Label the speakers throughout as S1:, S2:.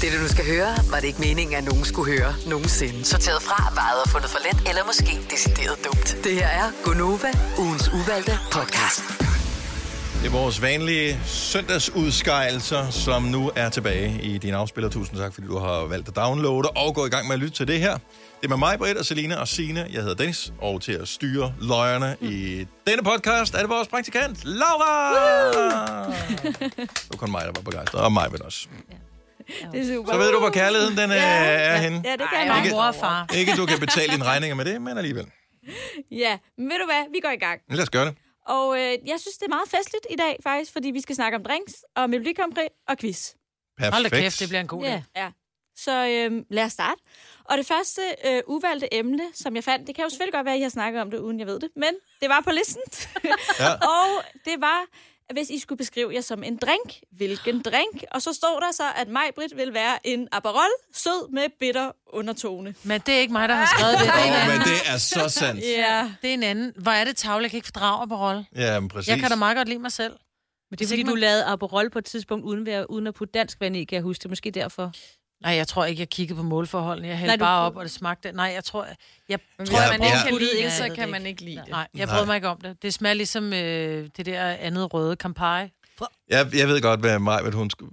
S1: Det, du nu skal høre, var det ikke meningen, at nogen skulle høre nogensinde. Sorteret fra, vejet og fundet for let, eller måske decideret dumt. Det her er Gonova, ugens uvalgte podcast.
S2: Det er vores vanlige søndagsudskejelser, som nu er tilbage i din afspiller. Tusind tak, fordi du har valgt at downloade og gå i gang med at lytte til det her. Det er med mig, Britt og Selina og Sine. Jeg hedder Dennis, og til at styre løjerne i denne podcast er det vores praktikant, Laura! Det var kun mig, der var begejstret, og mig med også.
S3: Det er super.
S2: Så ved du, hvor kærligheden den øh, er henne.
S3: Ja, det kan
S4: Ej,
S3: jeg
S2: ikke-
S4: mor og far.
S2: Ikke, du kan betale dine regninger med det, men alligevel.
S3: Ja, men ved du hvad? Vi går i gang.
S2: Men lad os gøre det.
S3: Og øh, jeg synes, det er meget festligt i dag, faktisk, fordi vi skal snakke om drinks og Melodi Grand Prix og quiz.
S2: Perfekt.
S4: Hold da kæft, det bliver en god dag.
S3: Ja. ja. Så øh, lad os starte. Og det første øh, uvalgte emne, som jeg fandt, det kan jo selvfølgelig godt være, at I har snakket om det, uden jeg ved det, men det var på listen.
S2: Ja.
S3: og det var, hvis I skulle beskrive jer som en drink, hvilken drink? Og så stod der så, at Majbrit vil være en Aperol, sød med bitter undertone.
S4: Men det er ikke mig, der har skrevet det. Det er en
S2: Åh, men
S4: anden.
S2: det er så sandt.
S3: Ja.
S4: Det er en anden. Hvor er det tavle, jeg kan ikke fordrage på rolle.
S2: Ja, men præcis.
S4: Jeg kan da meget godt lide mig selv.
S5: Men det er fordi, du lavede Aperol på et tidspunkt, uden, ved, at- uden at putte dansk vand i, kan jeg huske det. Måske derfor.
S4: Nej, jeg tror ikke, jeg kiggede på målforholdene. Jeg hældte
S5: Nej, du-
S4: bare op, og det smagte. Nej, jeg tror... Jeg, jeg
S2: hvis
S4: tror,
S2: man
S4: jeg
S2: ikke
S4: prøvede
S2: kan
S4: at putte
S5: lide
S4: i,
S5: det,
S4: jeg
S5: så
S4: ved
S5: kan
S4: det
S5: man
S4: ikke.
S5: ikke lide det.
S4: Nej, jeg
S2: Nej.
S4: prøvede mig ikke om det. Det smager ligesom øh, det der andet røde Campari.
S2: Jeg, jeg ved godt, hvad Majbet, hun skulle...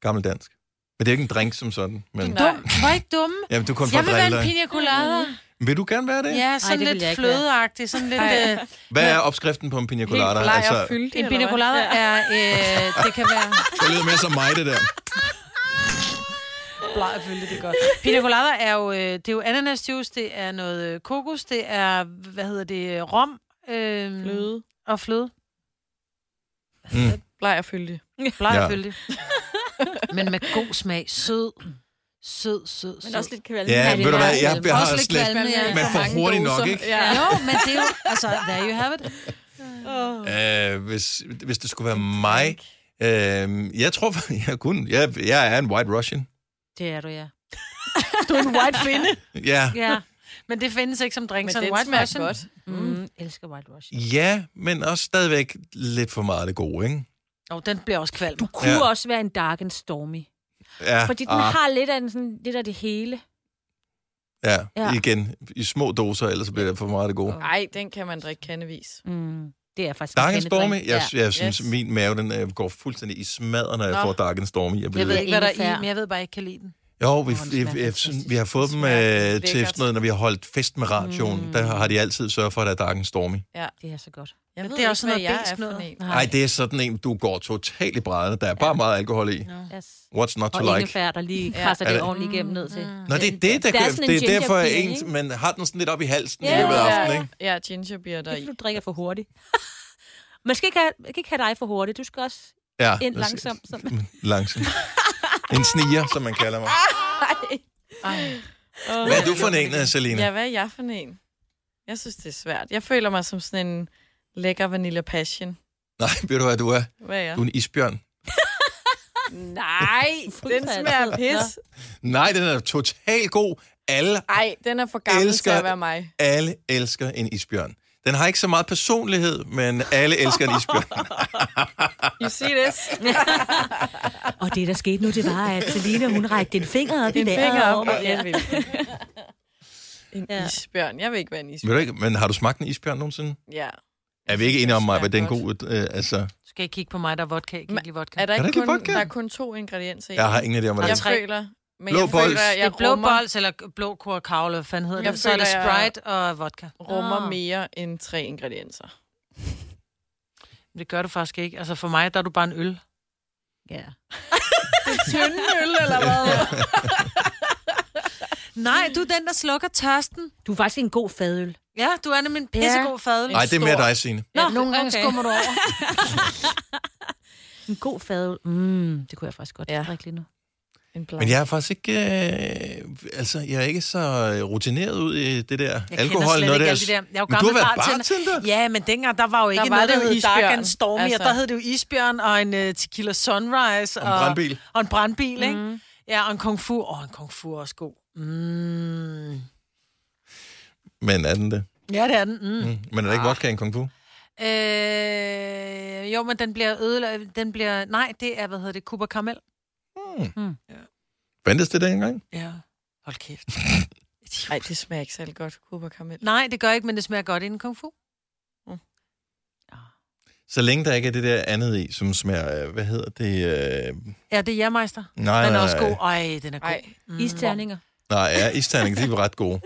S2: Gammel dansk. Men det er ikke en drink som sådan. Men...
S4: Dum. Var ikke dumme?
S2: Jamen, du er kun for
S4: Jeg
S2: at
S4: vil være
S2: drille
S4: en
S2: dig.
S4: pina colada.
S2: Vil du gerne være det?
S4: Ja, sådan
S5: det vil jeg
S4: lidt
S5: ikke være.
S4: flødeagtig. Sådan lidt... Øh,
S2: Hvad er opskriften på en pina colada? Altså-
S4: bleg og
S2: det
S4: en pina colada er... Øh, det kan være...
S2: lyder mere som mig, det der.
S4: Bleg selvfølgelig, det er godt. Pina colada er jo, øh, det er jo ananasjuice, det er noget øh, kokos, det er, hvad hedder det, øh, rom. Øh,
S5: Fløde.
S4: Og fløde.
S2: Mm.
S6: Bleg og fyldig.
S4: Bleg
S2: Ja.
S4: ja. Men med god smag. Sød. Sød, sød, sød.
S3: Men også lidt kvalme.
S2: Ja,
S5: det
S2: ved du
S5: er
S2: hvad,
S5: meget
S2: jeg,
S5: kvalme.
S2: jeg
S4: Også
S2: har
S4: lidt
S2: slet...
S4: kvalme, ja.
S2: Man får
S6: mange
S2: hurtigt
S6: doser.
S2: nok, ikke?
S6: Ja.
S4: Jo, men det er jo, altså, there you have it.
S2: Øh, hvis, hvis det skulle være mig... Øh, jeg tror, jeg kunne. Jeg, jeg er en white Russian.
S5: Det er du, ja.
S6: Du er en white finde.
S2: Ja,
S4: Ja. Men det findes ikke som drink,
S6: Men
S4: så en
S6: den
S4: white
S6: smager
S4: version.
S6: godt.
S5: Mm. Mm. Elsker whitewash.
S2: ja men også stadigvæk lidt for meget af det gode, ikke?
S4: Oh, den bliver også kvalm.
S5: Du kunne
S2: Ja.
S5: ja. også være en dark and stormy.
S2: Ja,
S5: Fordi den
S2: ah,
S5: har lidt af, den, sådan, lidt af det hele.
S2: ja,
S5: ja.
S2: igen, i små doser, ellers bliver det for meget af det gode.
S6: Nej, den kan man drikke kandevis.
S5: Mm. Det er faktisk
S2: Dark
S5: en
S2: and
S5: kendetegn.
S2: Stormy, jeg,
S5: Ja.
S2: jeg synes,
S6: Yes.
S2: min mave den, øh, går fuldstændig i smadret, når jeg
S6: Nå.
S2: får Dark and Stormy. Jeg,
S4: Jeg
S2: bliver
S4: ved ikke, hvad der er i,
S5: Ingefær.
S4: men jeg ved bare, ikke kan lide den.
S2: Jo, vi,
S5: Åh, den
S2: vi,
S5: smager
S2: vi,
S5: fantastisk.
S2: vi har fået dem øh,
S6: Smager
S2: til
S6: lækkert.
S2: sådan noget, når vi har holdt fest med radioen. Mm. Der har de altid sørget for, at der er Dark and Stormy.
S5: Det er så godt.
S6: Jeg
S4: Men
S6: ved
S4: det er
S6: ikke,
S4: også
S6: hvad
S4: noget
S6: jeg
S4: besk
S6: er for
S4: noget.
S6: en.
S2: Nej, det er sådan en, du går totalt i brædderne. Der er bare meget alkohol i.
S5: Yes.
S2: What's not
S5: Og
S2: to
S5: like.
S2: like?
S5: ingefær, der lige
S2: Ja.
S5: krasser
S2: Er
S5: Mm. ja. Mm. det
S2: det-
S5: ordentligt igennem ned til.
S2: Nå, det er det, der,
S5: Der er
S2: kører.
S5: sådan en
S2: Det er derfor,
S5: ginger beer,
S2: en,
S5: ikke?
S2: man har den sådan lidt op i halsen
S5: Ja,
S2: i løbet af
S5: ja,
S2: aftenen, ikke?
S6: Ja, ginger
S5: Det
S6: beer
S5: er,
S6: der
S5: fordi du drikker for hurtigt. Man skal ikke have, man skal ikke have dig for hurtigt. Du skal også
S2: Ja,
S5: ind langsomt. Sådan.
S2: Langsomt. En sniger, som man kalder mig. Hvad er du for en, øh, Selina?
S6: Ja, hvad er jeg for en? Jeg synes, det er svært. Jeg føler mig som sådan en lækker vanilla passion.
S2: Nej, ved du hvad du er?
S6: Hvad er jeg?
S2: Du er en isbjørn.
S6: Nej, den smager af pis.
S2: Nej, den er totalt god. Alle
S6: Ej, den er for gammel
S2: Elsker-
S6: til at være mig.
S2: Alle elsker en isbjørn. Den har ikke så meget personlighed, men alle elsker en isbjørn.
S6: You see this?
S5: Og det, der skete nu, det var, at Selina, hun rækte en finger op i
S6: En
S5: vejret.
S6: finger op.
S5: over mig.
S6: og jeg vil. En
S5: Ja.
S6: isbjørn. Jeg vil ikke være en
S2: Ved
S6: isbjørn.
S2: du ikke, men har du smagt en isbjørn nogensinde?
S6: Ja.
S2: Er vi ikke enige om mig, hvad den er
S6: Smager
S2: god? Øh, altså,
S4: Du skal ikke kigge på mig, der er vodka. Jeg kan
S6: Men-
S4: ikke lide vodka.
S6: Er der,
S2: Kan du
S6: ikke
S2: ikke lide
S6: kun,
S2: vodka?
S6: der er kun to ingredienser i?
S2: jeg har
S6: den?
S2: ingen idé om, hvad
S6: Jeg
S2: den
S4: tre.
S6: føler, men
S2: Blå
S6: jeg
S2: bols.
S6: føler, at jeg
S4: det er blå
S6: rummer,
S4: bols, eller blå kurkavle, hvad fanden hedder
S6: Jeg
S4: det? Så er
S6: føler,
S4: der
S6: jeg-
S4: Sprite og vodka.
S6: rummer
S5: Ah.
S6: mere end tre ingredienser.
S4: Men Det gør du faktisk ikke. Altså for mig, der er du bare en øl.
S5: Ja.
S6: Tynde øl, eller hvad?
S4: Nej, du er den, der slukker tørsten.
S5: Du er faktisk en god fadøl.
S4: Ja, du er nemlig en pissegod fadøl.
S2: Nej, det er mere dig, Signe.
S4: Nå, ja, nogle gange okay.
S5: okay.
S4: skummer du over.
S5: En god fadøl. Mm, det kunne jeg faktisk godt
S6: Ja.
S5: ja. Mm. drikke lige nu.
S6: en
S2: Men jeg er faktisk ikke... Øh, altså, jeg er ikke så rutineret ud i det der
S4: Jeg
S2: alkohol.
S4: kender slet ikke
S2: der.
S4: alle de der. Jeg er jo
S2: Men du har
S4: gammel
S2: været
S4: bartender.
S2: bartender?
S4: Ja, men dengang, der var jo ikke
S6: var
S4: noget,
S6: det
S4: der
S6: jo
S4: hed Dark
S6: isbjørn.
S4: and Stormy, altså. og
S6: Altså.
S4: der hed det jo Isbjørn og en uh, Tequila Sunrise.
S2: Og en brandbil.
S4: Og en brandbil, ikke? Mm. Ja, og en Kung Fu. Åh, oh, en Kung Fu er også god. Mm.
S2: Men er den det?
S4: Ja, det er den. Mm.
S2: Mm. Men er der ikke vodka i en kung fu?
S4: Øh, jo, men den bliver ødelagt. Den bliver... Nej, det er, hvad hedder det, Cooper Caramel.
S2: Fandtes det dengang?
S4: Ja. Hold kæft.
S6: Nej, det smager ikke særlig godt, Cuba Karamel.
S4: Nej, det gør ikke, men det smager godt inden kung fu.
S2: Så længe der ikke er det der andet i, som smager, øh, hvad hedder det? Øh,
S4: Ja, det er jermeister.
S2: nej,
S4: Den er
S2: nej,
S4: også god.
S2: nej.
S4: Ej, den er god.
S6: Nej,
S4: Mm.
S5: Isterninger.
S2: Nej, ja, isterning, de er ret gode.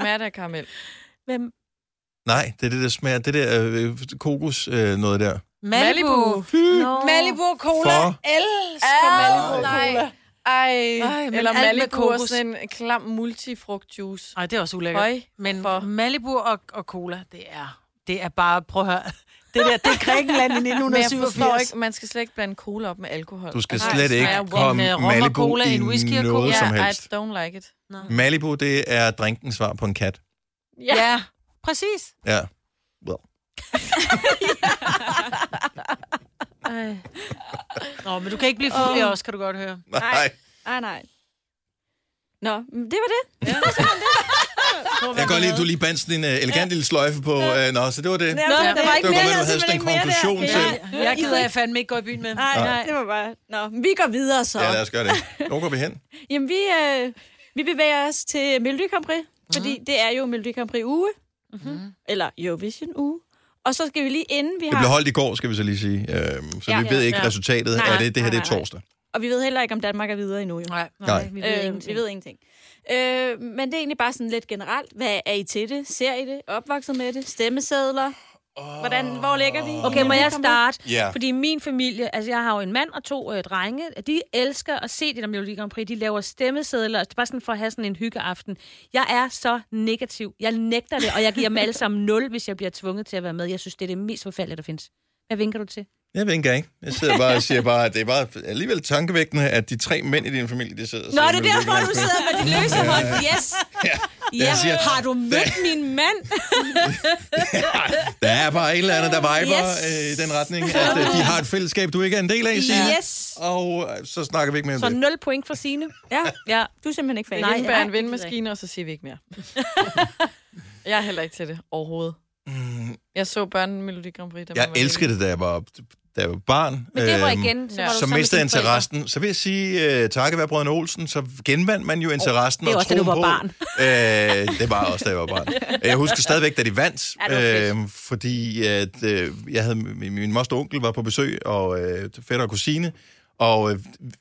S6: smager det af karamel.
S5: Hvem?
S2: Nej, det er det, der smager, det der øh, kokos, øh, noget der.
S4: Malibu. Ah,
S5: Nå.
S4: Malibu Cola.
S2: For?
S4: Elsker Malibu Cola.
S6: Ej,
S4: Ej, men
S6: eller
S4: alt med
S6: Malibu er
S4: kokos.
S6: sådan en klam multifrugtjuice.
S4: Nej, det er også ulækkert.
S6: Høj,
S4: Men
S6: for-
S4: for... Malibu og, og cola, det er, det er bare, prøv at høre, det der, det er Grækenland i
S6: Men jeg
S4: 1987.
S6: forstår ikke, man skal slet ikke blande cola op med alkohol.
S2: Du skal
S6: Altså,
S2: slet
S6: det
S2: ikke
S6: smager
S4: kom-
S2: komme
S4: øh, rom og
S2: Malibu
S4: cola,
S2: i
S4: en whisky og cola.
S2: noget som
S6: Ja, I
S2: helst.
S6: don't like it.
S2: Malibu, det er drinken svar på en kat.
S4: Ja. ja, præcis.
S2: Ja. Well.
S4: Ej. Nå, men du kan ikke blive fuld i os, kan du godt høre.
S2: Nej.
S3: Nej, nej. Nå, men det var det.
S2: Jeg kan godt lide, at du lige bandt sådan en uh, elegant lille sløjfe på. Uh, nå, så det var det.
S3: Nå,
S5: der var
S2: Det var godt, at du havde sådan en konklusion til.
S4: Jeg gider jeg fandme ikke gå i byen med.
S3: Nej,
S2: Nej.
S3: nej, det var bare... Nå, men vi går videre så.
S2: Ja, lad os gøre det. Hvor går vi hen?
S3: Jamen, vi, øh, vi bevæger os til Melody Grand Prix, fordi det er jo Melody Grand Prix uge. Mm-hmm. Eller Eurovision uge. Og så skal vi lige inden vi
S2: Det blev
S3: har...
S2: holdt i går, skal vi så lige sige. Uh, så
S3: Ja,
S2: vi ved
S3: ja,
S2: ikke
S4: ja.
S2: resultatet
S3: Nej,
S2: af det. Det her, det er
S3: nej, nej.
S2: torsdag.
S3: Og vi ved heller ikke, om Danmark er videre endnu. Jo.
S4: Nej.
S2: Nej.
S5: Vi ved
S3: Øh, vi
S5: ingenting.
S3: ved ingenting. Øh, men det er egentlig bare sådan lidt generelt. Hvad er I til det? Ser I det? Opvokset med det? Stemmesedler? Hvordan, hvor ligger vi?
S5: Okay, må jeg starte?
S2: Ja.
S5: Fordi min familie, altså jeg har jo en mand og to øh, drenge, de elsker at se det der Melodi Grand Prix. De laver stemmesedler, og det er bare sådan for at have sådan en hyggeaften. Jeg er så negativ. Jeg nægter det, og jeg giver dem alle sammen nul, hvis jeg bliver tvunget til at være med. Jeg synes, det er det mest forfærdelige, der findes. Hvad vinker du til?
S2: Jeg ved ikke engang. Jeg sidder bare og siger bare, at det er bare alligevel tankevækkende, at de tre mænd i din familie, de sidder og
S5: Nå,
S2: siger,
S5: det er
S2: "Vil
S5: derfor,
S2: ikke
S5: du
S2: være med?"
S5: sidder med de løse hånd. Yes!
S2: Ja,
S5: Ja,
S2: jeg siger-
S5: har du mødt min mand?
S2: Der er bare et eller andet, der viber øh,
S5: Yes.
S2: i den retning, at øh, de har et fællesskab, du ikke er en del af, Signe.
S5: Yes!
S2: Og øh, så snakker vi ikke mere om
S5: Så
S2: det.
S5: nul point for sine.
S3: Ja,
S5: Ja.
S3: du er simpelthen ikke fan.
S5: Nej.
S3: Nej.
S6: Indbær
S5: det
S6: en
S5: gider jeg
S6: vindmaskine, og så siger vi ikke mere. jeg er heller ikke til det overhovedet. Jeg så børnemelodi Grand Prix. da man
S2: Mm. Jeg
S6: var
S2: elskede
S6: lille.
S2: det, da jeg var, da jeg var barn.
S5: Men det var
S2: Øhm,
S5: igen, så var
S6: ja.
S5: du
S2: Så
S5: sammen
S2: mistede jeg
S5: med dine forældre.
S2: interessen. Så vil jeg sige, uh, takket være brødrene Olsen, så genvandt man jo interessen
S5: det er
S2: og
S5: også, da du
S2: troen på.
S5: var
S2: barn. Uh, det var også, da jeg var barn. Øh, Jeg husker stadigvæk, da de vandt,
S5: Ja, det var
S2: uh, fordi at, uh, jeg havde, min, min moster og onkel var på besøg, og uh, fætter og kusine, og uh,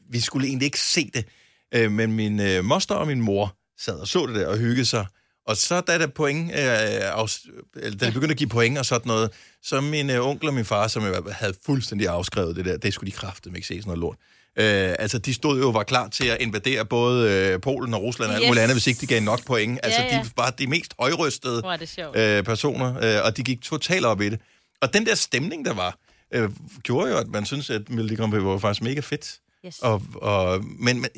S2: vi skulle egentlig ikke se det. Uh, men min uh, moster og min mor sad og så det der og hyggede sig. Og så da der point, øh, afs- eller da det begyndte at give point og sådan noget, så min øh, onkel og min far, som jo havde fuldstændig afskrevet det der, det skulle de kraftedeme ikke se sådan noget lort. Øh, altså, de stod jo og var klar til at invadere både øh, Polen og Rusland og alt
S5: Yes.
S2: muligt andet, hvis ikke de gav nok point. Altså,
S5: Ja, ja.
S2: de var bare de mest højrystede
S5: Hvor er det sjovt.
S2: øh, personer, øh, og de gik totalt op i det. Og den der stemning, der var, øh, gjorde jo, at man synes, at Melodi Grand Prix var faktisk mega fedt.
S5: Yes.
S2: Og, og, men, men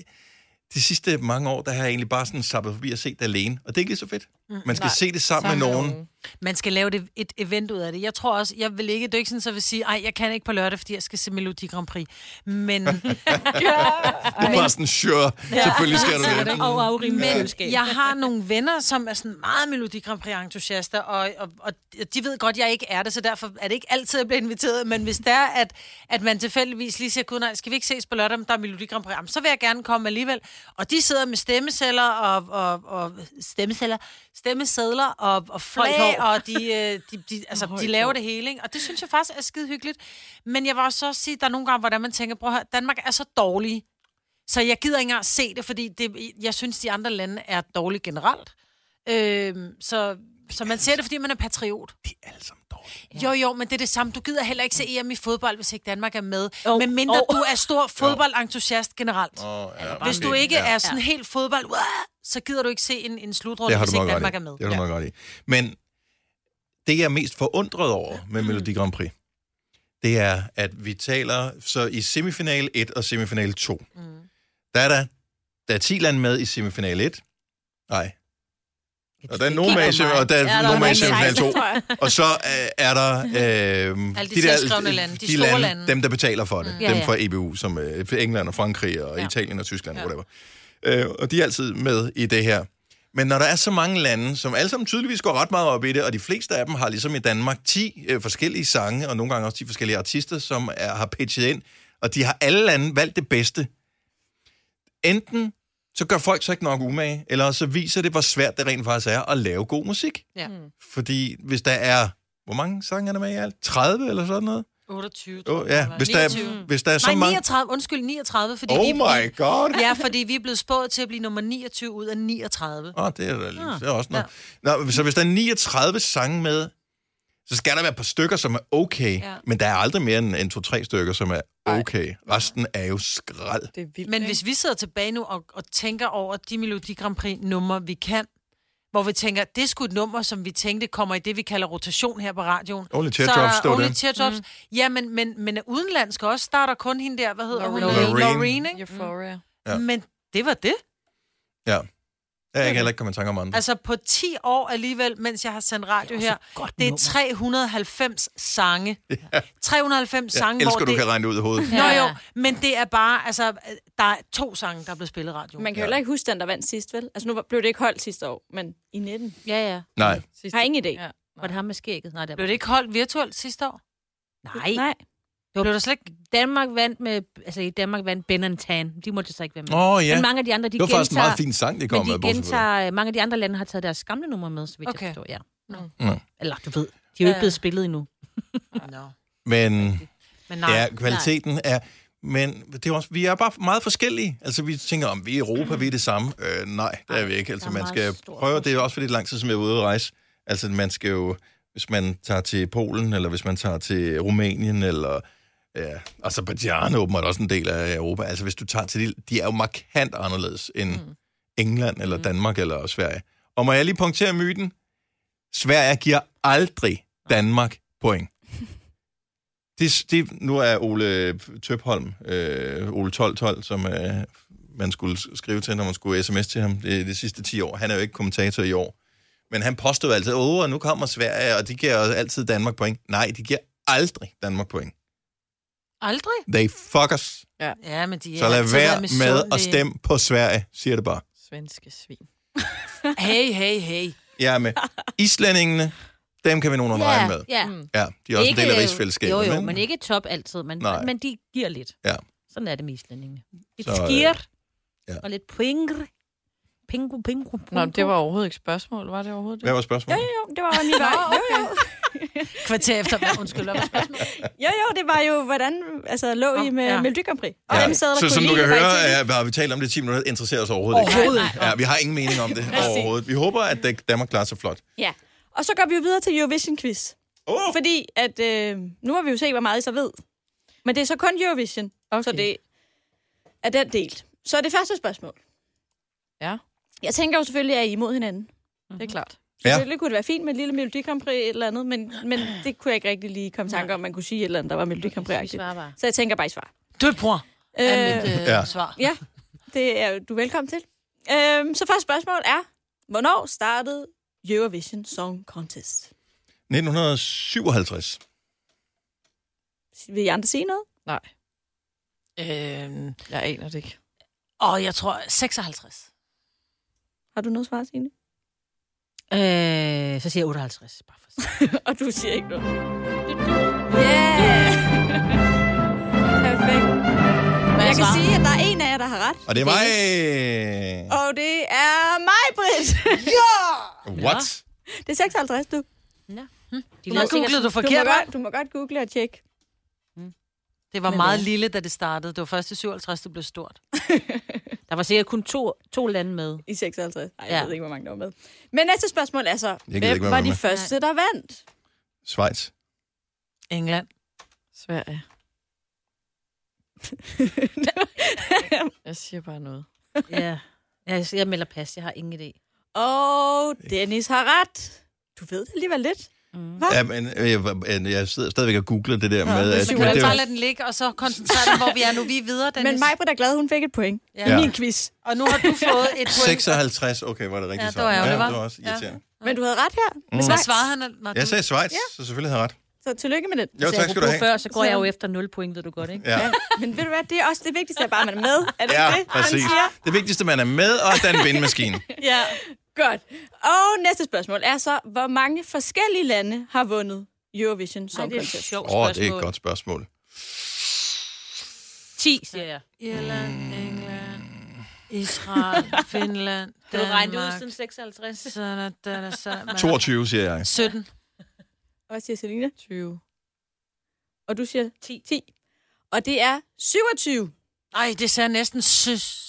S2: de sidste mange år, der har jeg egentlig bare sådan sappet forbi og set det alene. Og det er ikke lige så fedt. Man skal Nej, se det sammen, sammen med nogen.
S4: Man skal lave det, et event ud af det. Jeg tror også, jeg vil ikke, det er ikke sådan, så jeg vil sige, ej, jeg kan ikke på lørdag, fordi jeg skal se Melodi Grand Prix. Men,
S2: Det er bare sådan, sure, selvfølgelig skal du det.
S5: Og afrime
S4: men jeg har nogle venner, som er sådan meget Melodi Grand Prix-entusiaster, og, og, og de ved godt, jeg ikke er det, så derfor er det ikke altid, jeg bliver inviteret. Men hvis det er, at, at man tilfældigvis lige siger, gud nej, skal vi ikke ses på lørdag, men der er Melodi Grand Prix, Jamen, så vil jeg gerne komme alligevel. Og de sidder med stemmeceller og, og, og stemmeceller, stemmesedler og, og flag,
S5: Højt hår.
S4: og de, øh, de, de, altså, de laver det hele, ikke? Og det synes jeg faktisk er skide hyggeligt. Men jeg vil også, også sige, at der er nogle gange, hvordan man tænker, prøv at høre, Danmark er så dårlige, så jeg gider ikke engang se det, fordi det, jeg synes, de andre lande er dårlige generelt. Øhm, så, så man ser det, fordi man er patriot.
S2: De er alle sammen dårlige.
S4: Jo, jo, men det er det samme. Du gider heller ikke se EM i fodbold, hvis ikke Danmark er med.
S5: Jo.
S4: Oh. Men mindre
S5: Jo.
S4: oh. du er stor fodboldentusiast generelt. Oh.
S2: Oh, ja,
S4: Hvis du
S2: det-
S4: ikke
S2: ja.
S4: er sådan helt fodbold, "Uah!" så gider du ikke se en, en slutrunde,
S2: det har
S4: hvis
S2: du
S4: ikke
S2: meget godt
S4: Danmark
S2: i.
S4: er med.
S2: Det har du meget godt i. Men det, jeg er mest forundret over med Melodi Grand Prix, det er, at vi taler så i semifinal 1 og semifinal 2. Mm. Der er der, der er 10 lande med i semifinal 1. Nej. Og der er nogen med i semi- og der er nogen med i semifinal 2. Og så øh, er der øh,
S4: Alle de selvskrevne lande, de store lande.
S2: dem der betaler for det, mm.
S5: Ja,
S2: dem
S5: ja.
S2: fra EBU, som øh, England og Frankrig og ja.
S4: Ja.
S2: Italien og Tyskland, ja.
S4: Ja.
S2: whatever. Øh, og de er altid med i det her. Men når der er så mange lande, som alle sammen tydeligvis går ret meget op i det, og de fleste af dem har ligesom i Danmark 10 øh, forskellige sange, og nogle gange også 10 forskellige artister, som er, har pitchet ind, og de har alle lande valgt det bedste. Enten så gør folk så ikke nok umage, eller så viser det, hvor svært det rent faktisk er at lave god musik.
S4: Ja.
S2: Fordi hvis der er, hvor mange sange er der med i alt? 30 eller sådan noget?
S4: 28,
S2: Oh, ja, hvis der, er,
S4: 29.
S2: hvis der er så
S4: Nej,
S2: mange...
S4: 39. Undskyld, 39, fordi vi,
S2: Oh my god!
S4: Ja, fordi vi er blevet spået til at blive nummer 29 ud af 39.
S2: Åh, oh, det er da
S4: Ah.
S2: det er også noget. Nå, så hvis der er 39 sange med, så skal der være et par stykker, som er okay. Ja.
S4: Ja.
S2: Men der er aldrig mere end, end to-tre stykker, som er okay. Resten er jo skrald.
S6: Det er vildt,
S4: Men
S6: ikke?
S4: hvis vi sidder tilbage nu og, og tænker over de Melodi Grand Prix numre, vi kan, hvor vi tænker, det er sgu et nummer, som vi tænkte kommer i det, vi kalder rotation her på radioen.
S2: Only
S4: Så er
S2: Teardrops,
S4: der
S2: stod
S4: Only
S2: det.
S4: Teardrops. Mm. Ja, men, men, men er udenlandsk også. Der er der kun hende der, hvad hedder hun?
S6: Loreen.
S2: Loreen.
S4: Loreen,
S6: Mm.
S4: ikke?
S6: Euphoria.
S2: Ja.
S4: Men det var det.
S2: Ja. Jeg kan heller ikke komme i tanke om andre.
S4: Altså på 10 år alligevel, mens jeg har sendt radio
S5: også
S4: her,
S5: et godt
S4: det er
S5: nummer.
S4: 390 sange. 390 sange,
S2: jeg
S4: hvor
S2: elsker, du
S4: det...
S2: kan regne det ud i hovedet.
S4: Nå
S5: Ja.
S4: jo, men det er bare, altså, der er to sange, der er blevet spillet i radioen.
S3: Man kan jo heller ikke huske den, der vandt sidst, vel? Altså, nu var- blev det ikke holdt sidste år, men i 19.
S5: Ja, ja.
S2: Nej.
S6: Sidste.
S3: Har ingen idé.
S6: Ja.
S5: Var det ham med skægget? Nej, det
S4: Blev
S5: var
S4: det ikke holdt virtuelt sidste år? Nej.
S3: Nej.
S4: Blev der slet ikke...
S5: Danmark vandt med... Altså, i Danmark vandt Ben Tan. De måtte så ikke være med.
S2: Åh, oh, ja.
S5: Men mange af de andre, de
S2: Det var faktisk en
S5: gentager...
S2: meget fin sang, de kom med.
S5: men de
S2: bortset fra det.
S5: gentager, mange af de andre lande har taget deres gamle numre med, så vidt okay.
S4: Okay.
S5: jeg forstår, ja.
S2: Mm.
S5: Eller du ved, de er jo ikke
S4: Ja.
S5: blevet spillet endnu.
S4: No.
S2: Men
S4: Men nej.
S2: ja, kvaliteten er... Men det er også, vi er bare meget forskellige. Altså, vi tænker, om vi i Europa, vi er det samme. Øh, nej, det er vi ikke. Altså,
S5: der er
S2: man
S5: meget
S2: skal
S5: stor
S2: prøve, det er også fordi, det er lang tid, som jeg er ude at rejse. Altså, man skal jo, hvis man tager til Polen, eller hvis man tager til Rumænien, eller ja, Azerbaijan er åbenbart også en del af Europa. Altså, hvis du tager til de, de er jo markant anderledes end mm. England, eller Danmark, eller Sverige. Og må jeg lige punktere myten? Sverige giver aldrig Danmark point. Det, det, nu er Ole Tøpholm, øh, Ole 1212, som øh, man skulle skrive til, når man skulle sms til ham de, de sidste 10 år. Han er jo ikke kommentator i år. Men han påstod altid, åh, nu kommer Sverige, og de giver jo altid Danmark point. Nej, de giver aldrig Danmark point.
S4: Aldrig?
S2: They fuck us.
S4: Ja, men de er
S2: Så lad
S4: altid
S2: være med at
S4: misundelige.
S2: stemme på Sverige, siger det bare.
S6: Svenske svin.
S4: Hey, hey, hey.
S2: Jeg er med. Islændingene, dem kan vi nogen yeah. regne med.
S5: ja.
S6: Mm.
S2: Ja, de er også en del af rigsfællesskabet.
S5: øh, Jo, jo, men ikke top altid, men,
S2: Nej.
S5: men de giver lidt.
S2: Ja.
S5: Sådan er det med islændingene. Et
S2: Så, øh,
S5: så, skier
S2: ja.
S5: ja. og lidt pingre. Pingu, pingu, pingu.
S6: Nå, det var overhovedet ikke spørgsmål. Var det overhovedet det?
S2: Hvad var spørgsmålet?
S3: Jo, det var min vej. Jo, jo.
S4: Kvarter efter... Nå, Undskyld, hvad var spørgsmålet?
S3: jo, jo, det var jo, hvordan altså, lå I
S4: Nå,
S3: med
S4: ja.
S3: ja. Melodi Grand Prix? Og
S2: Ja.
S3: hvem sad der
S2: Så
S3: kunne
S2: som du
S3: lide
S2: kan
S3: det,
S2: høre,
S3: faktisk?
S2: ja, har vi talt om det i 10 minutter, interesserer os overhovedet, overhovedet. ikke. Ja, vi har ingen mening om det overhovedet. Vi håber, at Dan- Danmark klarer sig flot.
S3: Ja. Og så går vi jo videre til Eurovision Quiz.
S2: Åh! Oh,
S3: Fordi at, øh, nu har vi jo set, hvor meget I så ved. Men det er så kun Eurovision. Okay. Så det er den delt. Så er det første spørgsmål.
S6: Ja.
S3: Jeg tænker jo selvfølgelig, at I er imod hinanden.
S6: Det er klart.
S3: Selvfølgelig kunne det være fint med et lille Melodi Grand Prix et eller andet, men, men det kunne jeg ikke rigtig lige komme i tanke om, man kunne sige et eller andet, der var Melodi Grand Prix.
S5: svarer bare.
S3: Så jeg tænker bare, I svar.
S4: Du er bror, er mit
S3: Øh,
S4: øh,
S2: Ja.
S4: ja. svar.
S3: ja, det er du er velkommen til. Øh, så første spørgsmål er, hvornår startede Eurovision Song Contest?
S2: 1957.
S3: Vil I andre sige noget?
S6: Nej,
S4: Øhm,
S6: jeg aner det ikke.
S4: og jeg tror 56.
S3: Har du noget svar, Signe?
S5: Øh, så siger jeg 58. Bare for at sige.
S3: Og du siger ikke noget. Yeah! Perfekt. Men jeg kan sige, at der er en af jer, der har ret.
S2: Og det er mig.
S3: Og det er mig, Britt.
S2: øh, What?
S3: det er 56, du.
S5: De
S4: Nu
S5: lavede sikkert
S4: googlede du
S3: Du må,
S4: forkert, hva'?
S3: godt, du må godt google og tjekke.
S4: Det var
S5: Men
S4: meget
S5: ja.
S4: lille, da det startede. Det var først i 57, det blev stort.
S5: sådan- Der var sikkert kun to, to lande med.
S3: I 56. Ej, jeg
S5: Ja.
S3: ved ikke, hvor mange der var med. Men næste spørgsmål er så,
S2: gider
S3: hvem
S2: ikke være
S3: var
S2: med.
S3: de første, der vandt?
S2: Schweiz.
S4: England.
S6: Sverige. jeg siger bare noget.
S5: Ja. Jeg, jeg melder pas, jeg har ingen idé.
S3: Og Dennis har ret. Du ved det alligevel lidt.
S2: Ja, men øh, jeg, jeg sidder stadigvæk og googler det der med...
S3: det
S2: At,
S3: er
S4: Du
S2: men
S4: kan
S2: det
S4: bare
S2: var,
S4: lade den ligge, og så koncentrere dig, hvor vi er nu. Vi er videre, Dennis.
S3: Men Majbrit er glad, hun fik et point.
S4: Ja.
S3: Ja.
S2: Ja.
S3: Min quiz.
S4: Og nu har du fået et point.
S2: 56. Okay, var det rigtigt
S4: Ja, det var jeg, det var.
S2: det var også
S4: Ja.
S2: irriterende.
S3: Men du havde ret
S2: Mm.
S3: her.
S4: Men hvad svarede han? Nå,
S2: Jeg
S4: du- Altså,
S2: sagde Schweiz, så selvfølgelig havde jeg ret.
S3: Så tillykke med det.
S2: Jo,
S5: Så
S2: tak skal du
S5: apropos
S2: have.
S5: Før, så går jeg jo efter 0 point, ved du godt, ikke?
S2: Ja.
S3: Men ved du hvad, det er også det vigtigste, at bare man er med. Er det
S2: Ja,
S3: ikke det, han
S2: præcis.
S3: siger?
S2: Det vigtigste, man er med, og at der er en vindmaskine.
S3: Ja. Godt. Og næste spørgsmål er så, hvor mange forskellige lande har vundet Eurovision Song
S5: det er
S3: Contest?
S5: sjovt
S2: Åh, oh, det er et godt spørgsmål.
S5: 10, siger jeg.
S2: Mm.
S4: Irland, England, Israel, Finland,
S5: Kan du regne det ud
S4: Danmark.
S5: siden 56?
S4: Sådan, sådan, sådan.
S2: 22, siger jeg.
S4: 17.
S3: Og jeg siger Selina.
S6: 20.
S3: Og du siger 10. 10. Og det er 27.
S4: Ej, det ser næsten søs.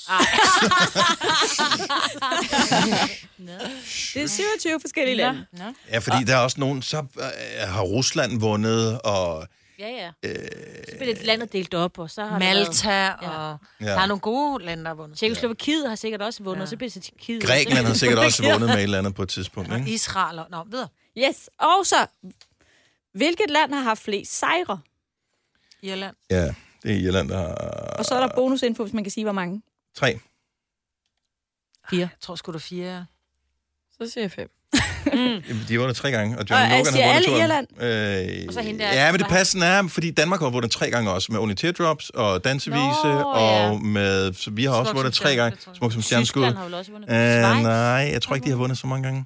S3: Det er 27 forskellige lande.
S6: Nå.
S2: Ja, fordi der er også nogen, så øh, har Rusland vundet, og...
S5: Ja, ja.
S2: Øh,
S5: Så bliver det landet delt op, og så har det
S4: Malta, og
S2: ja.
S4: der er nogle gode lande, der har vundet.
S5: Tjekkoslovakiet har sikkert også vundet,
S4: Ja.
S5: ja. så bliver det til Tjekkiet.
S2: Grækenland har sikkert også vundet med et eller andet på et tidspunkt,
S4: Og
S2: ikke?
S4: Israel og... Nå, videre.
S3: Yes. Og så, hvilket land har haft flest sejre?
S4: Irland.
S2: Ja, det er Irland, der har...
S3: Og så er
S2: Øh.
S3: der bonusinfo, hvis man kan sige, hvor mange.
S2: Tre.
S4: Fire. Jeg tror sgu, der er fire.
S6: Så siger jeg 5.
S5: Mm.
S2: Jamen, De har vundet tre gange, og
S3: Og
S2: John Logan
S3: altså,
S2: har vundet
S3: alle
S2: to
S3: Irland.
S2: gange. Øh,
S5: Og så hende der,
S2: ja, men det
S5: der-
S2: passende er, fordi Danmark har vundet tre gange også, med Only Teardrops og Dansevise,
S5: Nå,
S2: og
S5: ja.
S2: med... Så vi har også
S4: Smuk
S2: vundet
S4: som
S2: tre
S4: stjerne,
S2: gange.
S4: det tror jeg.
S2: Smuk som stjerneskud.
S5: Tyskland har jo også vundet.
S2: Øh,
S5: Schweiz.
S2: nej, jeg tror ikke, de har vundet så mange gange.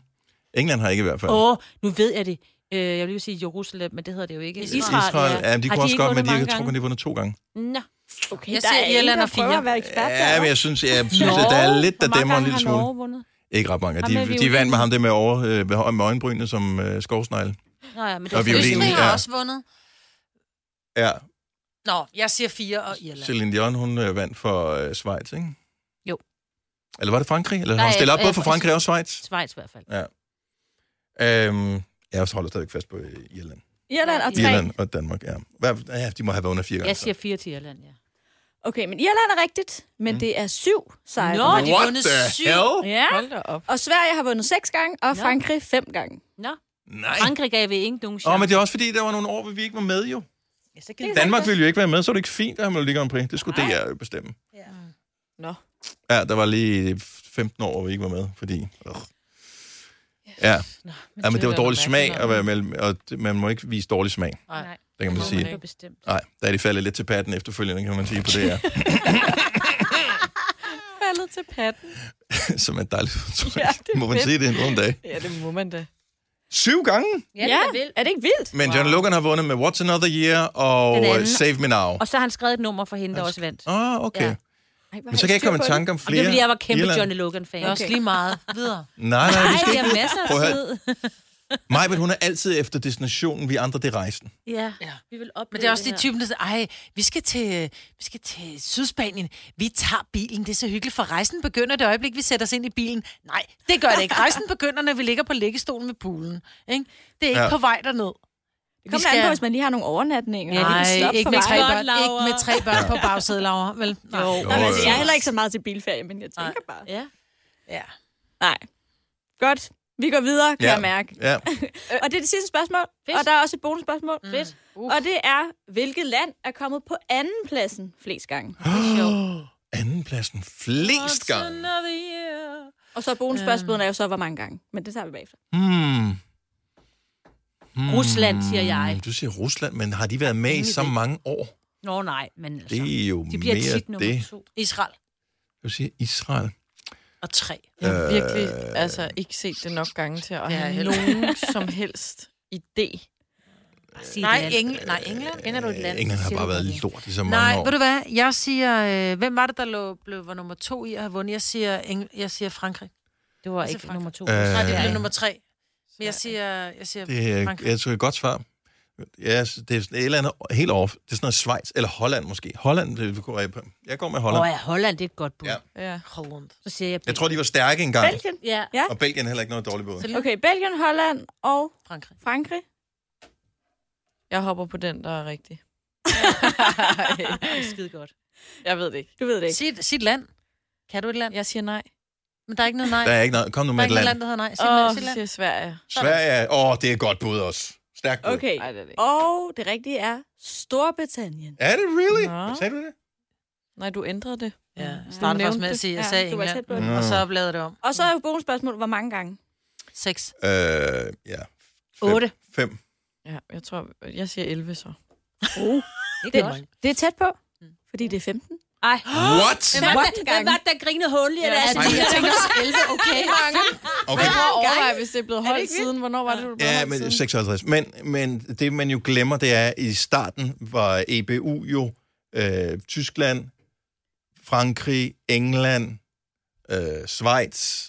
S2: England har ikke i hvert fald.
S5: Åh, nu ved jeg det. Øh, jeg vil lige sige Jerusalem, men det hedder det jo ikke.
S4: Israel.
S2: Israel, ja, men de
S5: Har
S2: kunne også
S5: ikke
S2: godt, men
S5: vundet
S2: de,
S5: mange
S2: jeg tror kun, de har vundet to gange.
S5: gange? Nå.
S3: Okay,
S4: Jeg
S3: der
S4: siger
S3: er ingen,
S4: Irland
S3: der
S4: og fire.
S3: prøver at være ekspert
S2: Ja,
S3: der,
S2: men jeg synes, jeg synes at der er lidt, der
S5: Hvor mange
S2: dæmmer en
S5: gange
S2: lille
S5: har
S2: smule.
S5: Norge vundet?
S2: Ikke ret mange.
S5: Ham med
S2: De, de
S5: violinen.
S2: vandt med ham der med, over, øh, med, med øjenbrynene som øh, skovsnegle.
S5: Nå, ja, men det
S2: Og
S5: er
S2: violin.
S5: Østrig.
S4: Østrig har
S2: ja.
S4: også vundet.
S2: Ja,
S4: Nå, jeg siger fire og Irland.
S2: Celine Dion, hun øh, vandt for øh, Schweiz, ikke?
S5: Jo.
S2: Eller var det Frankrig? Eller har hun
S5: Nej,
S2: stillet op
S5: øh,
S2: både for
S5: øh,
S2: Frankrig og Schweiz?
S5: Schweiz i hvert fald.
S2: Øhm, jeg holder stadig fast på øh, Irland.
S3: Irland og tre.
S2: Irland og Danmark, ja. Hvad- Ja, de må have været under fire gange.
S5: Jeg
S2: så.
S5: siger fire til Irland, ja.
S3: Okay, men Irland er rigtigt, men
S2: Mm.
S3: mm. det er syv sejre.
S4: Nå, de har
S2: What
S4: vundet
S2: the
S4: syv.
S2: hell?
S3: Ja.
S6: Hold da op.
S3: Og Sverige har vundet seks gange, og
S5: Nå.
S3: Frankrig fem gange.
S5: Nå,
S2: Nej.
S5: Frankrig gav vi ikke nogen
S2: Åh,
S5: chance.
S2: oh, men det er også fordi, der var nogle år, hvor vi ikke var med jo.
S5: Ja, så kan
S2: Danmark ville jo ikke være med, så er det ikke fint at have Melodi Grand Prix. Det skulle
S5: Nej.
S2: DR jo bestemme.
S6: Nå.
S2: Ja, der var lige 15 år, hvor vi ikke var med, fordi... Øh. Ja, ja, men det var dårlig smag at være med, og det- man må ikke vise dårlig smag,
S5: Nej,
S2: det kan man
S6: Må
S2: sige.
S6: man
S5: det var bestemt.
S2: Nej, der er de faldet lidt til patten efterfølgende, kan man sige på det her.
S6: Faldet til patten.
S2: Som er et dejligt udtryk.
S6: Ja, det er
S2: Må man
S6: fedt.
S2: sige det en dag?
S6: Ja, det må man da.
S2: Syv gange!
S5: Ja, det er vildt.
S3: er det ikke vildt?
S2: Men John Logan har vundet med What's Another Year og
S5: Den
S2: øh,
S5: anden.
S2: Save Me Now.
S5: Og så har han skrevet et nummer for hende, der også vandt.
S2: Ah, okay.
S5: Ja.
S3: Ej, hvor
S2: Men
S3: har
S2: så kan jeg ikke
S3: styr
S2: komme i
S3: på
S2: tanke om
S5: Og
S2: flere.
S5: det er, fordi jeg var kæmpe
S2: Irland.
S5: Johnny Logan-fan.
S4: Det er også lige meget. Videre.
S2: Nej, nej, vi
S5: Nej,
S2: skal
S5: vi
S2: ikke.
S5: har masser af
S2: Prøv at høre.
S5: tid.
S2: Maj, men hun er altid efter destinationen, vi andre det er rejsen.
S5: Ja,
S4: Ja.
S5: vi vil opleve
S4: Men det er også de
S5: her.
S4: typen, der siger, ej, vi skal, til, vi skal til Sydspanien. Vi tager bilen, det er så hyggeligt, for rejsen begynder det øjeblik, vi sætter os ind i bilen. Nej, det gør det ikke. Rejsen begynder, når vi ligger på liggestolen ved poolen. Ikke? Det er ikke
S2: Ja.
S4: ja. på vej derned.
S3: Det kommer an på, hvis man lige har nogle overnatninger.
S5: Ja, det
S3: Nej,
S5: kan
S4: Nej,
S3: ikke
S4: ikke med,
S5: mig.
S4: tre
S5: Godt,
S4: børn, ikke
S5: Laura.
S4: med tre børn på bagsædet, Laura. Vel? Nej. Jo.
S3: Nå, men
S2: Åh,
S3: altså,
S2: ja.
S3: jeg er heller ikke så meget til bilferie, men jeg tænker bare.
S5: Ja.
S4: Ja.
S3: Nej. Godt. Vi går videre, kan
S2: Ja.
S3: jeg mærke. Øh,
S2: Ja.
S3: Og det er det sidste spørgsmål,
S5: Fedt.
S3: og der er også et bonusspørgsmål.
S6: Mm.
S5: Fedt.
S3: Og det er, hvilket land er kommet på anden pladsen flest gange?
S2: Andenpladsen flest gange.
S3: Og så er bonusspørgsmålet er jo så, hvor mange gange. Men det tager vi bagefter.
S2: Hmm. Hmm.
S5: Rusland, siger jeg.
S2: Du siger Rusland, men har de været med i
S5: Ingen
S2: så
S5: idé.
S2: mange år?
S5: Nå nej, men altså,
S2: Det er jo
S5: de bliver
S2: mere
S5: tit nummer
S2: det.
S5: to.
S4: Israel
S2: Du siger Israel.
S4: og tre.
S6: Jeg
S2: Øh,
S6: har virkelig altså, ikke set det nok gange til at
S4: Ja,
S6: have
S4: heller
S6: nogen som helst idé.
S5: Bare sig
S4: Nej,
S5: et land.
S4: Engl- nej England.
S5: Kender du et land?
S2: Øh, England har
S5: siger
S2: bare
S5: du
S2: været
S5: det.
S2: lort i så mange
S4: Nej,
S2: år.
S4: ved du hvad? Jeg siger, øh, hvem var det, der lå, blev, var nummer to i at have vundet? Jeg siger, Engl- jeg siger Frankrig.
S5: Det var
S4: Altså,
S5: ikke
S4: Frank-
S5: nummer to.
S2: Øh,
S4: Nej, det
S2: Ja.
S4: blev nummer tre. Men jeg siger, jeg siger
S2: Det er,
S4: Frankrig.
S2: jeg tror, det er et godt svar. Ja, så det er sådan et eller andet helt off. Det er sådan noget Schweiz, eller Holland måske. Holland, det kunne jeg, jeg går med Holland.
S5: Åh ja, Holland, det er et godt bud.
S2: Ja.
S6: Ja.
S4: Holland.
S5: Så siger jeg...
S2: Jeg tror, de var stærke engang.
S3: Belgien.
S5: Ja.
S2: Og Belgien er heller ikke noget dårligt bud.
S3: Okay, Belgien, Holland og
S4: Frankrig.
S3: Frankrig.
S6: Jeg hopper på den, der er rigtig.
S5: Det er skide godt.
S6: jeg ved det ikke.
S3: Du ved det ikke.
S4: Sit, sit land. Kan du et land?
S6: Jeg siger nej.
S4: Men der er ikke noget nej.
S2: Der
S4: Der
S2: er ikke noget. Kom nu
S4: er
S2: med et
S4: ikke noget land,
S2: land.
S4: der hedder nej. Sit,
S6: Åh,
S4: land,
S6: oh,
S4: sit
S6: så
S4: land.
S6: siger Sverige.
S2: Sverige, åh, det er et godt bud også. Stærkt bud.
S3: Okay.
S6: Nej, det er det ikke.
S3: Og det rigtige er Storbritannien.
S2: Er det really?
S6: Nå.
S2: Hvad Sagde du det?
S6: Nej, du ændrede det.
S4: Ja, jeg
S6: Du
S4: startede
S6: nævnte
S4: faktisk med at
S6: det.
S4: sige, jeg
S3: Ja,
S4: sagde
S3: du var
S4: England.
S3: tæt på det.
S4: Mm. Og så blev det om.
S3: Og så er jo bonusspørgsmålet, hvor mange gange?
S4: Seks.
S2: Øh, ja. Fem.
S5: Otte.
S2: Fem.
S6: Ja, jeg tror, jeg siger 11 så.
S3: Oh,
S5: Det er godt.
S3: det, det er tæt på, fordi det er 15.
S5: Ej.
S2: What?
S5: Hvem var, det, hvem var det, der grinede hul i det?
S6: Ja,
S5: Altså,
S2: ej,
S5: jeg tænker også 11, okay.
S2: Okay.
S6: Prøv at overveje, hvis det er blevet
S3: det
S6: holdt
S3: ikke vildt?
S6: siden. Hvornår var det, du blev
S2: Ja,
S6: holdt
S2: men
S6: siden?
S2: 56. Men, men det, man jo glemmer, det er, at i starten var E EBU jo øh, Tyskland, Frankrig, England, øh, Schweiz,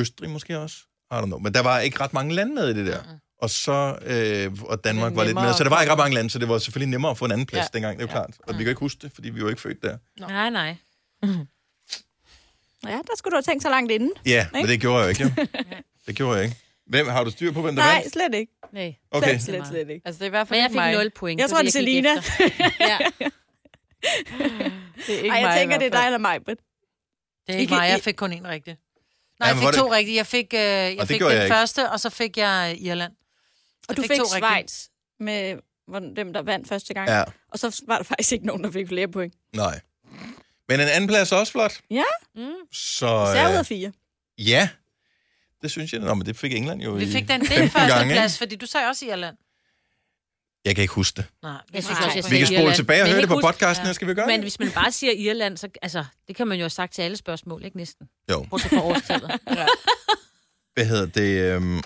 S2: Østrig måske også, I don't know. Men der var ikke ret mange lande med i det der. Og så, øh, og Danmark var lidt
S6: nemmere
S2: med, så der var
S6: at
S2: ikke ret mange lande, så det var selvfølgelig nemmere at få en anden plads
S6: Ja.
S2: dengang, det er jo
S6: Ja.
S2: klart. Og vi kan ikke huske det, fordi vi var ikke født der.
S5: Nej, nej.
S3: Ja, der skulle du have tænkt så langt inden.
S2: Ja, men det gjorde jeg jo ikke, jo. Det gjorde jeg ikke. Hvem, har du styr på, hvem der
S3: Nej,
S2: vandt?
S3: slet ikke.
S5: nej.
S2: Okay,
S3: Slet, slet, slet ikke.
S6: Altså, det er i hvert fald
S5: Men jeg
S6: ikke mig.
S5: fik 0 point.
S3: Jeg tror,
S5: fordi
S3: det er
S5: gik
S3: Selina.
S5: efter. ja.
S6: Det er ikke
S3: Ej, jeg
S6: mig i
S3: tænker,
S6: hvert
S3: det er
S6: fald.
S3: dig eller mig, Britt.
S4: Det er ikke
S3: I-
S4: mig,
S3: I-
S4: jeg fik kun én rigtig. Nej,
S2: Ja,
S4: jeg
S2: men
S4: fik
S2: hvor er
S4: to rigtige. Jeg fik, øh, jeg
S2: det
S4: fik
S2: gjorde
S4: den
S2: jeg ikke.
S4: første, og så fik jeg øh, Irland.
S3: Og
S4: Jeg
S3: du
S4: fik
S3: fik,
S4: to rigtige.
S3: Schweiz med hvor- dem, der vandt første gang.
S2: Ja,
S3: Og så var der faktisk ikke nogen, der fik flere point.
S2: nej. Men en anden plads er også flot.
S3: Ja.
S5: Mm.
S2: Så,
S3: Så jeg er ud
S2: øh,
S3: af fire.
S2: ja, det synes jeg. Nå, men det fik England jo
S4: Vi
S2: i
S4: fik den, det
S2: 15
S4: er første
S2: gange, ikke?
S4: plads, fordi du sagde også Irland.
S2: Jeg kan ikke huske det.
S4: Nej,
S5: Jeg synes
S4: Nej.
S5: også, jeg
S2: Vi kan
S5: Irland.
S2: spole tilbage og
S5: Men
S2: høre det
S5: ikke
S2: på
S5: huske-
S2: podcasten, ja. skal vi gøre
S5: Men
S2: det?
S5: hvis man bare siger Irland, så altså, det kan man jo have sagt til alle spørgsmål, ikke næsten?
S2: Jo.
S5: Bortset fra årstallet.
S2: Hvad hedder det? Øhm...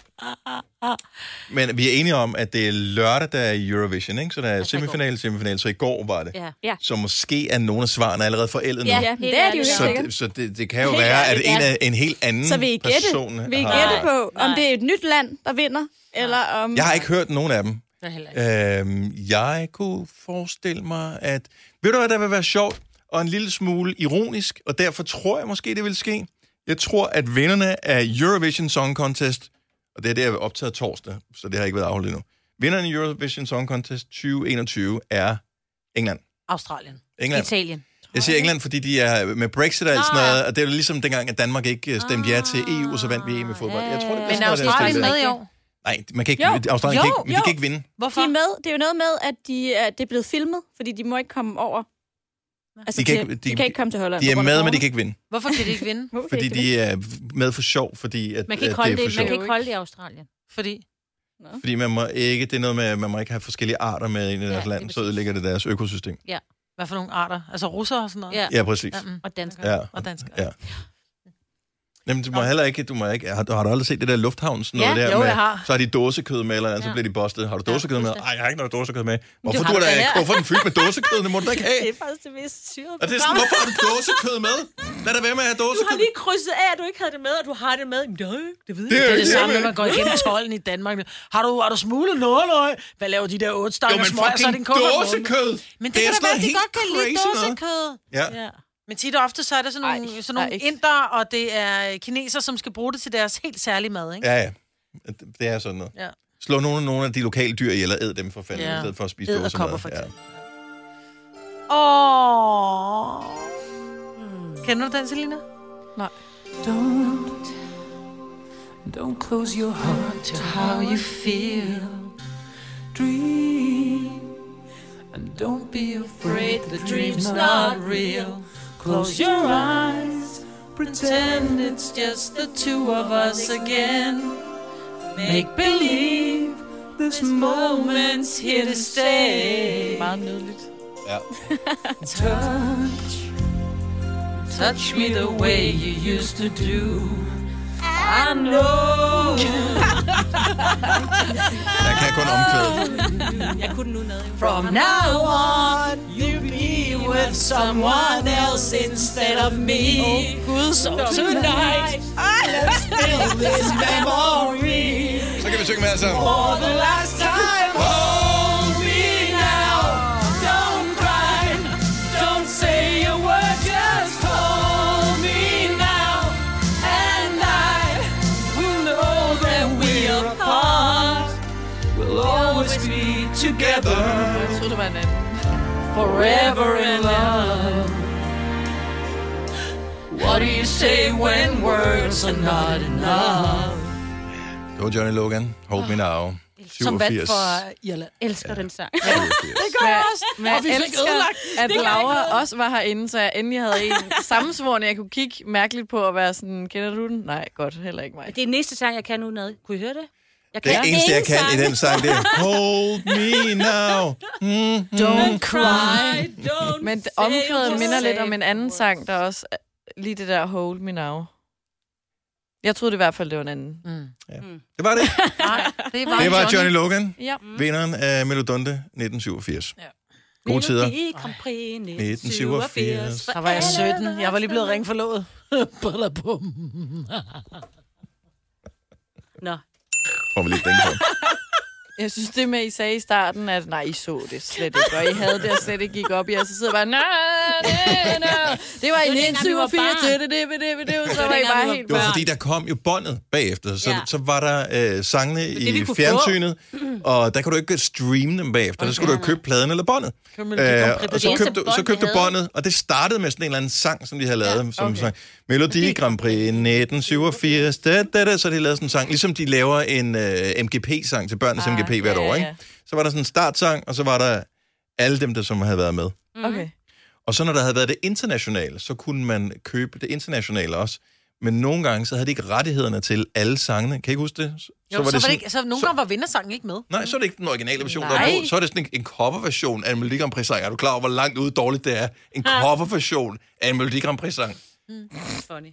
S2: Men vi er enige om, at det er lørdag, der er Eurovision, ikke? Så der er
S5: Altså i går.
S2: semifinale, semifinale, så i går var det.
S5: Ja.
S2: Så måske er nogle af svarene allerede forældet nu.
S3: Ja, det er de jo
S5: ærligt.
S3: helt
S2: Så,
S3: sikkert.
S2: det- så det, det kan jo
S3: Helt
S2: være, at
S3: ærligt,
S2: en,
S5: ja.
S2: af, en helt anden
S3: Så vil I gætte,
S2: person
S3: vil I
S2: har...
S3: gætte på, om
S5: Nej.
S3: det er et nyt land, der vinder, eller om...
S2: Jeg har ikke hørt nogen af dem.
S4: Jeg heller ikke.
S2: Øhm, jeg kunne forestille mig, at... Ved du, hvad der vil være sjovt? Og en lille smule ironisk, og derfor tror jeg måske, det vil ske. Jeg tror, at vinderne af Eurovision Song Contest, og det er det, jeg optaget torsdag, så det har ikke været afholdt endnu. Vinderne af Eurovision Song Contest 2021 er England.
S4: Australien.
S2: England.
S5: Italien.
S2: Jeg siger England, fordi de er med Brexit og alt sådan noget, og det er jo ligesom dengang, at Danmark ikke øh, stemte ja til EU, og så vandt vi EM i fodbold. Jeg tror, det bliver
S5: Men
S2: sådan noget, der er
S4: Ah. Australien
S2: stillet.
S4: med i år.
S2: Nej, man kan ikke,
S3: Jo,
S2: Australien kan
S4: jo,
S2: ikke, de
S3: jo.
S2: kan ikke vinde.
S4: Hvorfor?
S3: De er med. Det er jo noget med, at de er, det er blevet filmet, fordi de må ikke komme over. Altså,
S2: De
S3: de
S2: kan
S3: kan,
S2: ikke-
S3: de,
S2: de-
S3: de kan ikke komme til Holland.
S2: De er
S3: på grund af
S2: med, men de
S3: corona.
S2: kan ikke vinde.
S4: Hvorfor kan de ikke vinde?
S3: Hvorfor kan
S2: Fordi
S3: de det?
S2: de er med for sjov, fordi at,
S5: Man kan ikke
S2: at
S5: holde
S2: det er
S5: det,
S2: for
S5: man
S2: sjov.
S5: kan ikke holde det i Australien.
S4: Fordi
S2: Fordi man må ikke, det er noget med, at man må ikke have forskellige arter med ind i
S5: Ja,
S2: deres
S5: det er
S2: land, så
S5: præcis.
S2: ødelægger det deres økosystem.
S4: hvad for nogle arter? Altså russere og sådan noget?
S5: Ja.
S2: Ja, præcis.
S4: Mm.
S5: Og danskere.
S2: Ja.
S4: Og danskere.
S2: Ja. Jamen, du må heller ikke, du må ikke, har, du- har du aldrig set det der lufthavns noget
S5: Ja,
S2: der
S4: jo,
S2: med,
S4: jeg har.
S2: så har de dåsekød med, eller andet, så
S5: Ja.
S2: bliver de bustet. Har du dåsekød med?
S5: fuldstændig.
S2: Nej, jeg har ikke noget dåsekød med. Hvorfor,
S5: har
S2: du er
S5: det
S2: da,
S5: da her.
S2: hvorfor er den fyldt med dåsekød? Det må du da ikke have.
S3: Det er faktisk det mest syrede
S2: Og det er sådan, hvorfor har du dåsekød med? Lad da være med at have
S5: Du har
S2: dåsekød.
S5: lige krydset af, at du ikke havde det med, og du har det med. Jamen, det- det
S2: Det er
S4: Det
S5: ved jeg.
S2: jo
S4: er det
S2: ikke
S4: samme, når
S2: det,
S4: man går igennem tolden i Danmark. Har du, har du smuglet noget, løg? Hvad laver de der otte
S2: Jo,
S4: stakker
S2: men
S4: smøger, så er det
S2: fucking
S4: en kuffert om måneden.
S2: dåsekød.
S4: Men det,
S2: Det er
S4: det kan da
S2: sådan
S4: være,
S2: noget
S4: at de
S2: helt
S4: godt kan lide
S2: crazy noget.
S4: dåsekød.
S2: Ja.
S5: Ja.
S4: Men tit og ofte, så er det sådan nogle,
S6: Ej,
S4: sådan nogle
S6: nej.
S4: inder, og det er kineser, som skal bruge det til deres helt særlige mad, ikke?
S2: Ja, ja. Det- Det er sådan noget.
S4: Ja.
S2: Slå nogle af, nogle af de lokale dyr ihjel og æd dem for fanden, ja.
S4: Ja.
S2: i stedet for at spise
S4: Edderkopper,
S2: dåsemad.
S4: for eksempel. Åh. Hmm. Kender du den, Selina?
S7: Don't, don't close your heart to how you feel. Dream, and don't be afraid the dream's not real. Close your eyes, pretend it's just the two of us again. Make believe this moment's here to stay.
S6: Meget nydeligt.
S2: Ja.
S7: Touch, touch me the way you used to do. I know
S2: ja. Jeg kan kun omkvæde.
S7: from now on you'll be with someone else instead of me. So tonight, let's build this memory
S2: Så kan vi synge med altså. alle sammen.
S7: for the last time. Hold me now. Don't cry. Don't say a word. Just hold me now. And I will know that we're apart. We'll always be together.
S6: Jeg troede, det var en anden.
S7: Forever in love. What do you say when words are not enough?
S2: Det var Johnny Logan. Hold me now. 87.
S4: Som vandt for Irland.
S5: Jeg elsker den sang.
S2: 87.
S6: Men jeg elsker, at Laura også var herinde, så jeg endelig havde en sammensvorende, jeg kunne kigge mærkeligt på og være sådan, kender du den? Nej, godt, heller ikke mig.
S5: Det er næste sang, jeg kan udenad. Kunne I høre det? Jeg
S2: Det eneste, jeg kan i den sang, det er Hold Mm-hmm. me now.
S4: Don't cry.
S6: Men d- omkvædet minder lidt om en anden sang, der også er- lige det der Hold Me Now. Jeg troede det i hvert fald, det var en anden.
S2: Det var det.
S4: Nej, det var,
S2: Det var Johnny Logan,
S6: Ja.
S2: vinderen af Melodonte 1987. Gode tider. 1987.
S4: Der var jeg 17. Jeg var lige blevet ringe forlovet. Badabum.
S5: Nå.
S2: Får vi lige den på.
S6: Jeg synes, det med, at I sagde i starten, at nej, I så det slet ikke, og I havde det, og slet ikke gik op i, og så sidder jeg bare, nej, nej, nej. Det var i
S5: dengang, vi var
S6: 1987,
S5: barn.
S6: det, det, det, det, det, det, så var
S5: dengang,
S6: I
S5: vi
S6: bare
S5: var
S6: helt
S2: Det var
S5: børn.
S2: fordi, der kom jo båndet bagefter, så,
S5: Ja.
S2: så var der øh, sangene
S5: det, vi
S2: i
S5: kunne
S2: fjernsynet, og der kunne du ikke streame dem bagefter, der skulle du jo købe pladen eller båndet. Øh, og så
S5: eneste
S2: købte, du-
S5: bånd,
S2: så
S5: vi
S2: købte du
S5: havde.
S2: båndet, og det startede med sådan en eller anden sang, som de havde lavet, som sang Melodi Grand Prix 1987, da, da, da, så havde de lavet sådan en sang, ligesom de laver en øh, MGP-sang til børnenes ah, MGP hvert
S6: ja,
S2: år,
S6: ja.
S2: ikke? Så var der sådan en startsang, og så var der alle dem, der som havde været med.
S6: Okay.
S2: Og så når der havde været det internationale, så kunne man købe det internationale også. Men nogle gange, så havde de ikke rettighederne til alle sangene. Kan I ikke huske det? Så,
S4: Jo, så, var det
S2: sådan-
S4: ikke, så nogle
S2: så-
S4: gange var vindersangen ikke med.
S2: Nej, så er det ikke den originale version, der
S6: Nej.
S2: er på. Så er det sådan en, en coverversion af en Melodi Grand Prix-sang. Er du klar over, hvor langt ude dårligt det er? En coverversion af en Melodi Grand Prix-sang.
S5: Funny.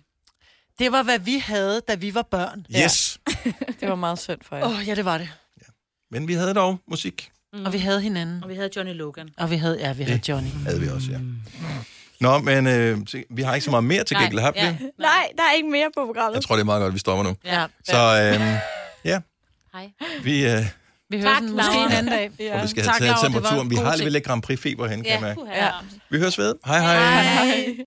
S4: Det var, hvad vi havde, da vi var børn.
S2: Yes!
S6: Det var meget synd for jer.
S4: Åh, oh, ja, det var det.
S2: Men vi havde dog musik.
S4: Mm. Og vi havde hinanden.
S5: Og vi havde Johnny Logan.
S4: Og vi havde, ja, vi havde Johnny.
S2: Havde vi også, ja.
S4: Mm.
S2: Nå, men øh, se, vi har ikke så meget mere til gengæld, har vi?
S5: ja.
S2: det?
S3: Nej, der er ikke mere på
S2: Jeg
S3: programmet.
S2: tror, det er meget godt, at vi stopper nu.
S4: Ja.
S2: Så øh,
S5: Hej.
S2: vi... Øh,
S4: Vi
S5: Tak,
S4: hører den måske
S5: Laura.
S4: en anden dag.
S2: Og vi skal
S4: Tak,
S2: have taget
S4: Laura, det var en
S2: temperaturen. Vi
S4: god
S2: har
S4: ting.
S2: lidt Grand Prix-feber hen, kan jeg mærke.
S5: puha.
S2: Vi høres ved. Hej hej. hej.
S5: Hej.